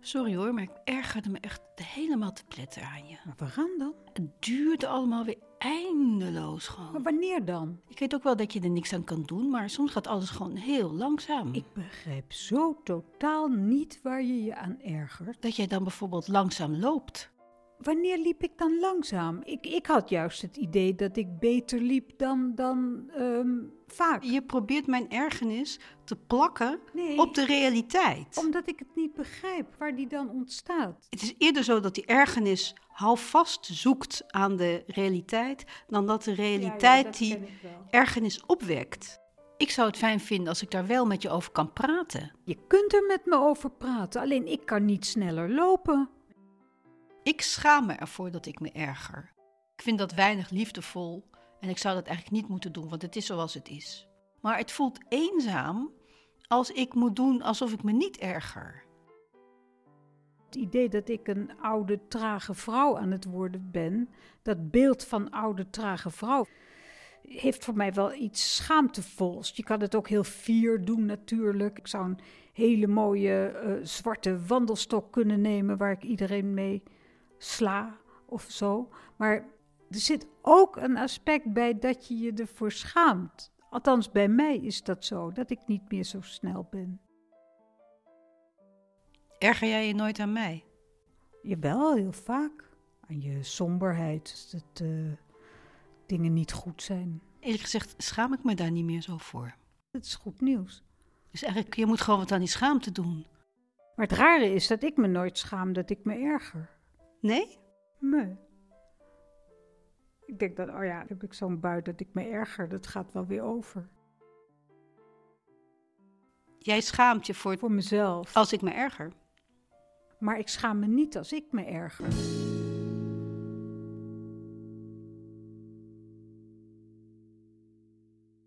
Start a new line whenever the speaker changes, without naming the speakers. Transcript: Sorry hoor, maar ik ergerde me echt helemaal te pletter aan je.
Maar waarom dan?
Het duurde allemaal weer eindeloos
Maar
gewoon.
wanneer dan?
Ik weet ook wel dat je er niks aan kan doen, maar soms gaat alles gewoon heel langzaam.
Ik begrijp zo totaal niet waar je je aan ergert.
Dat jij dan bijvoorbeeld langzaam loopt.
Wanneer liep ik dan langzaam? Ik, ik had juist het idee dat ik beter liep dan, dan ehm, vaak.
Je probeert mijn ergernis te plakken
Nee.
op de realiteit.
Omdat ik het niet begrijp waar die dan ontstaat.
Het is eerder zo dat die ergernis houvast zoekt aan de realiteit, dan dat de realiteit die ergernis opwekt. Ik zou het fijn vinden als ik daar wel met je over kan praten.
Je kunt er met me over praten, alleen ik kan niet sneller lopen.
Ik schaam me ervoor dat ik me erger. Ik vind dat weinig liefdevol en ik zou dat eigenlijk niet moeten doen, want het is zoals het is. Maar het voelt eenzaam als ik moet doen alsof ik me niet erger.
Het idee dat ik een oude, trage vrouw aan het worden ben, dat beeld van oude, trage vrouw, heeft voor mij wel iets schaamtevols. Je kan het ook heel fier doen natuurlijk. Ik zou een hele mooie eh, zwarte wandelstok kunnen nemen waar ik iedereen mee sla of zo. Maar er zit ook een aspect bij dat je je ervoor schaamt. Althans, bij mij is dat zo, dat ik niet meer zo snel ben.
Erger jij je nooit aan mij?
Jawel, heel vaak. Aan je somberheid, dat eh, dingen niet goed zijn.
Eerlijk gezegd schaam ik me daar niet meer zo voor.
Dat is goed nieuws.
Dus eigenlijk, je moet gewoon wat aan die schaamte doen.
Maar het rare is dat ik me nooit schaam dat ik me erger.
Nee?
Nee. Ik denk dat, oh ja, heb ik zo'n bui dat ik me erger, dat gaat wel weer over.
Jij schaamt je voor Oh.
Voor mezelf.
als ik me erger.
Maar ik schaam me niet als ik me erger.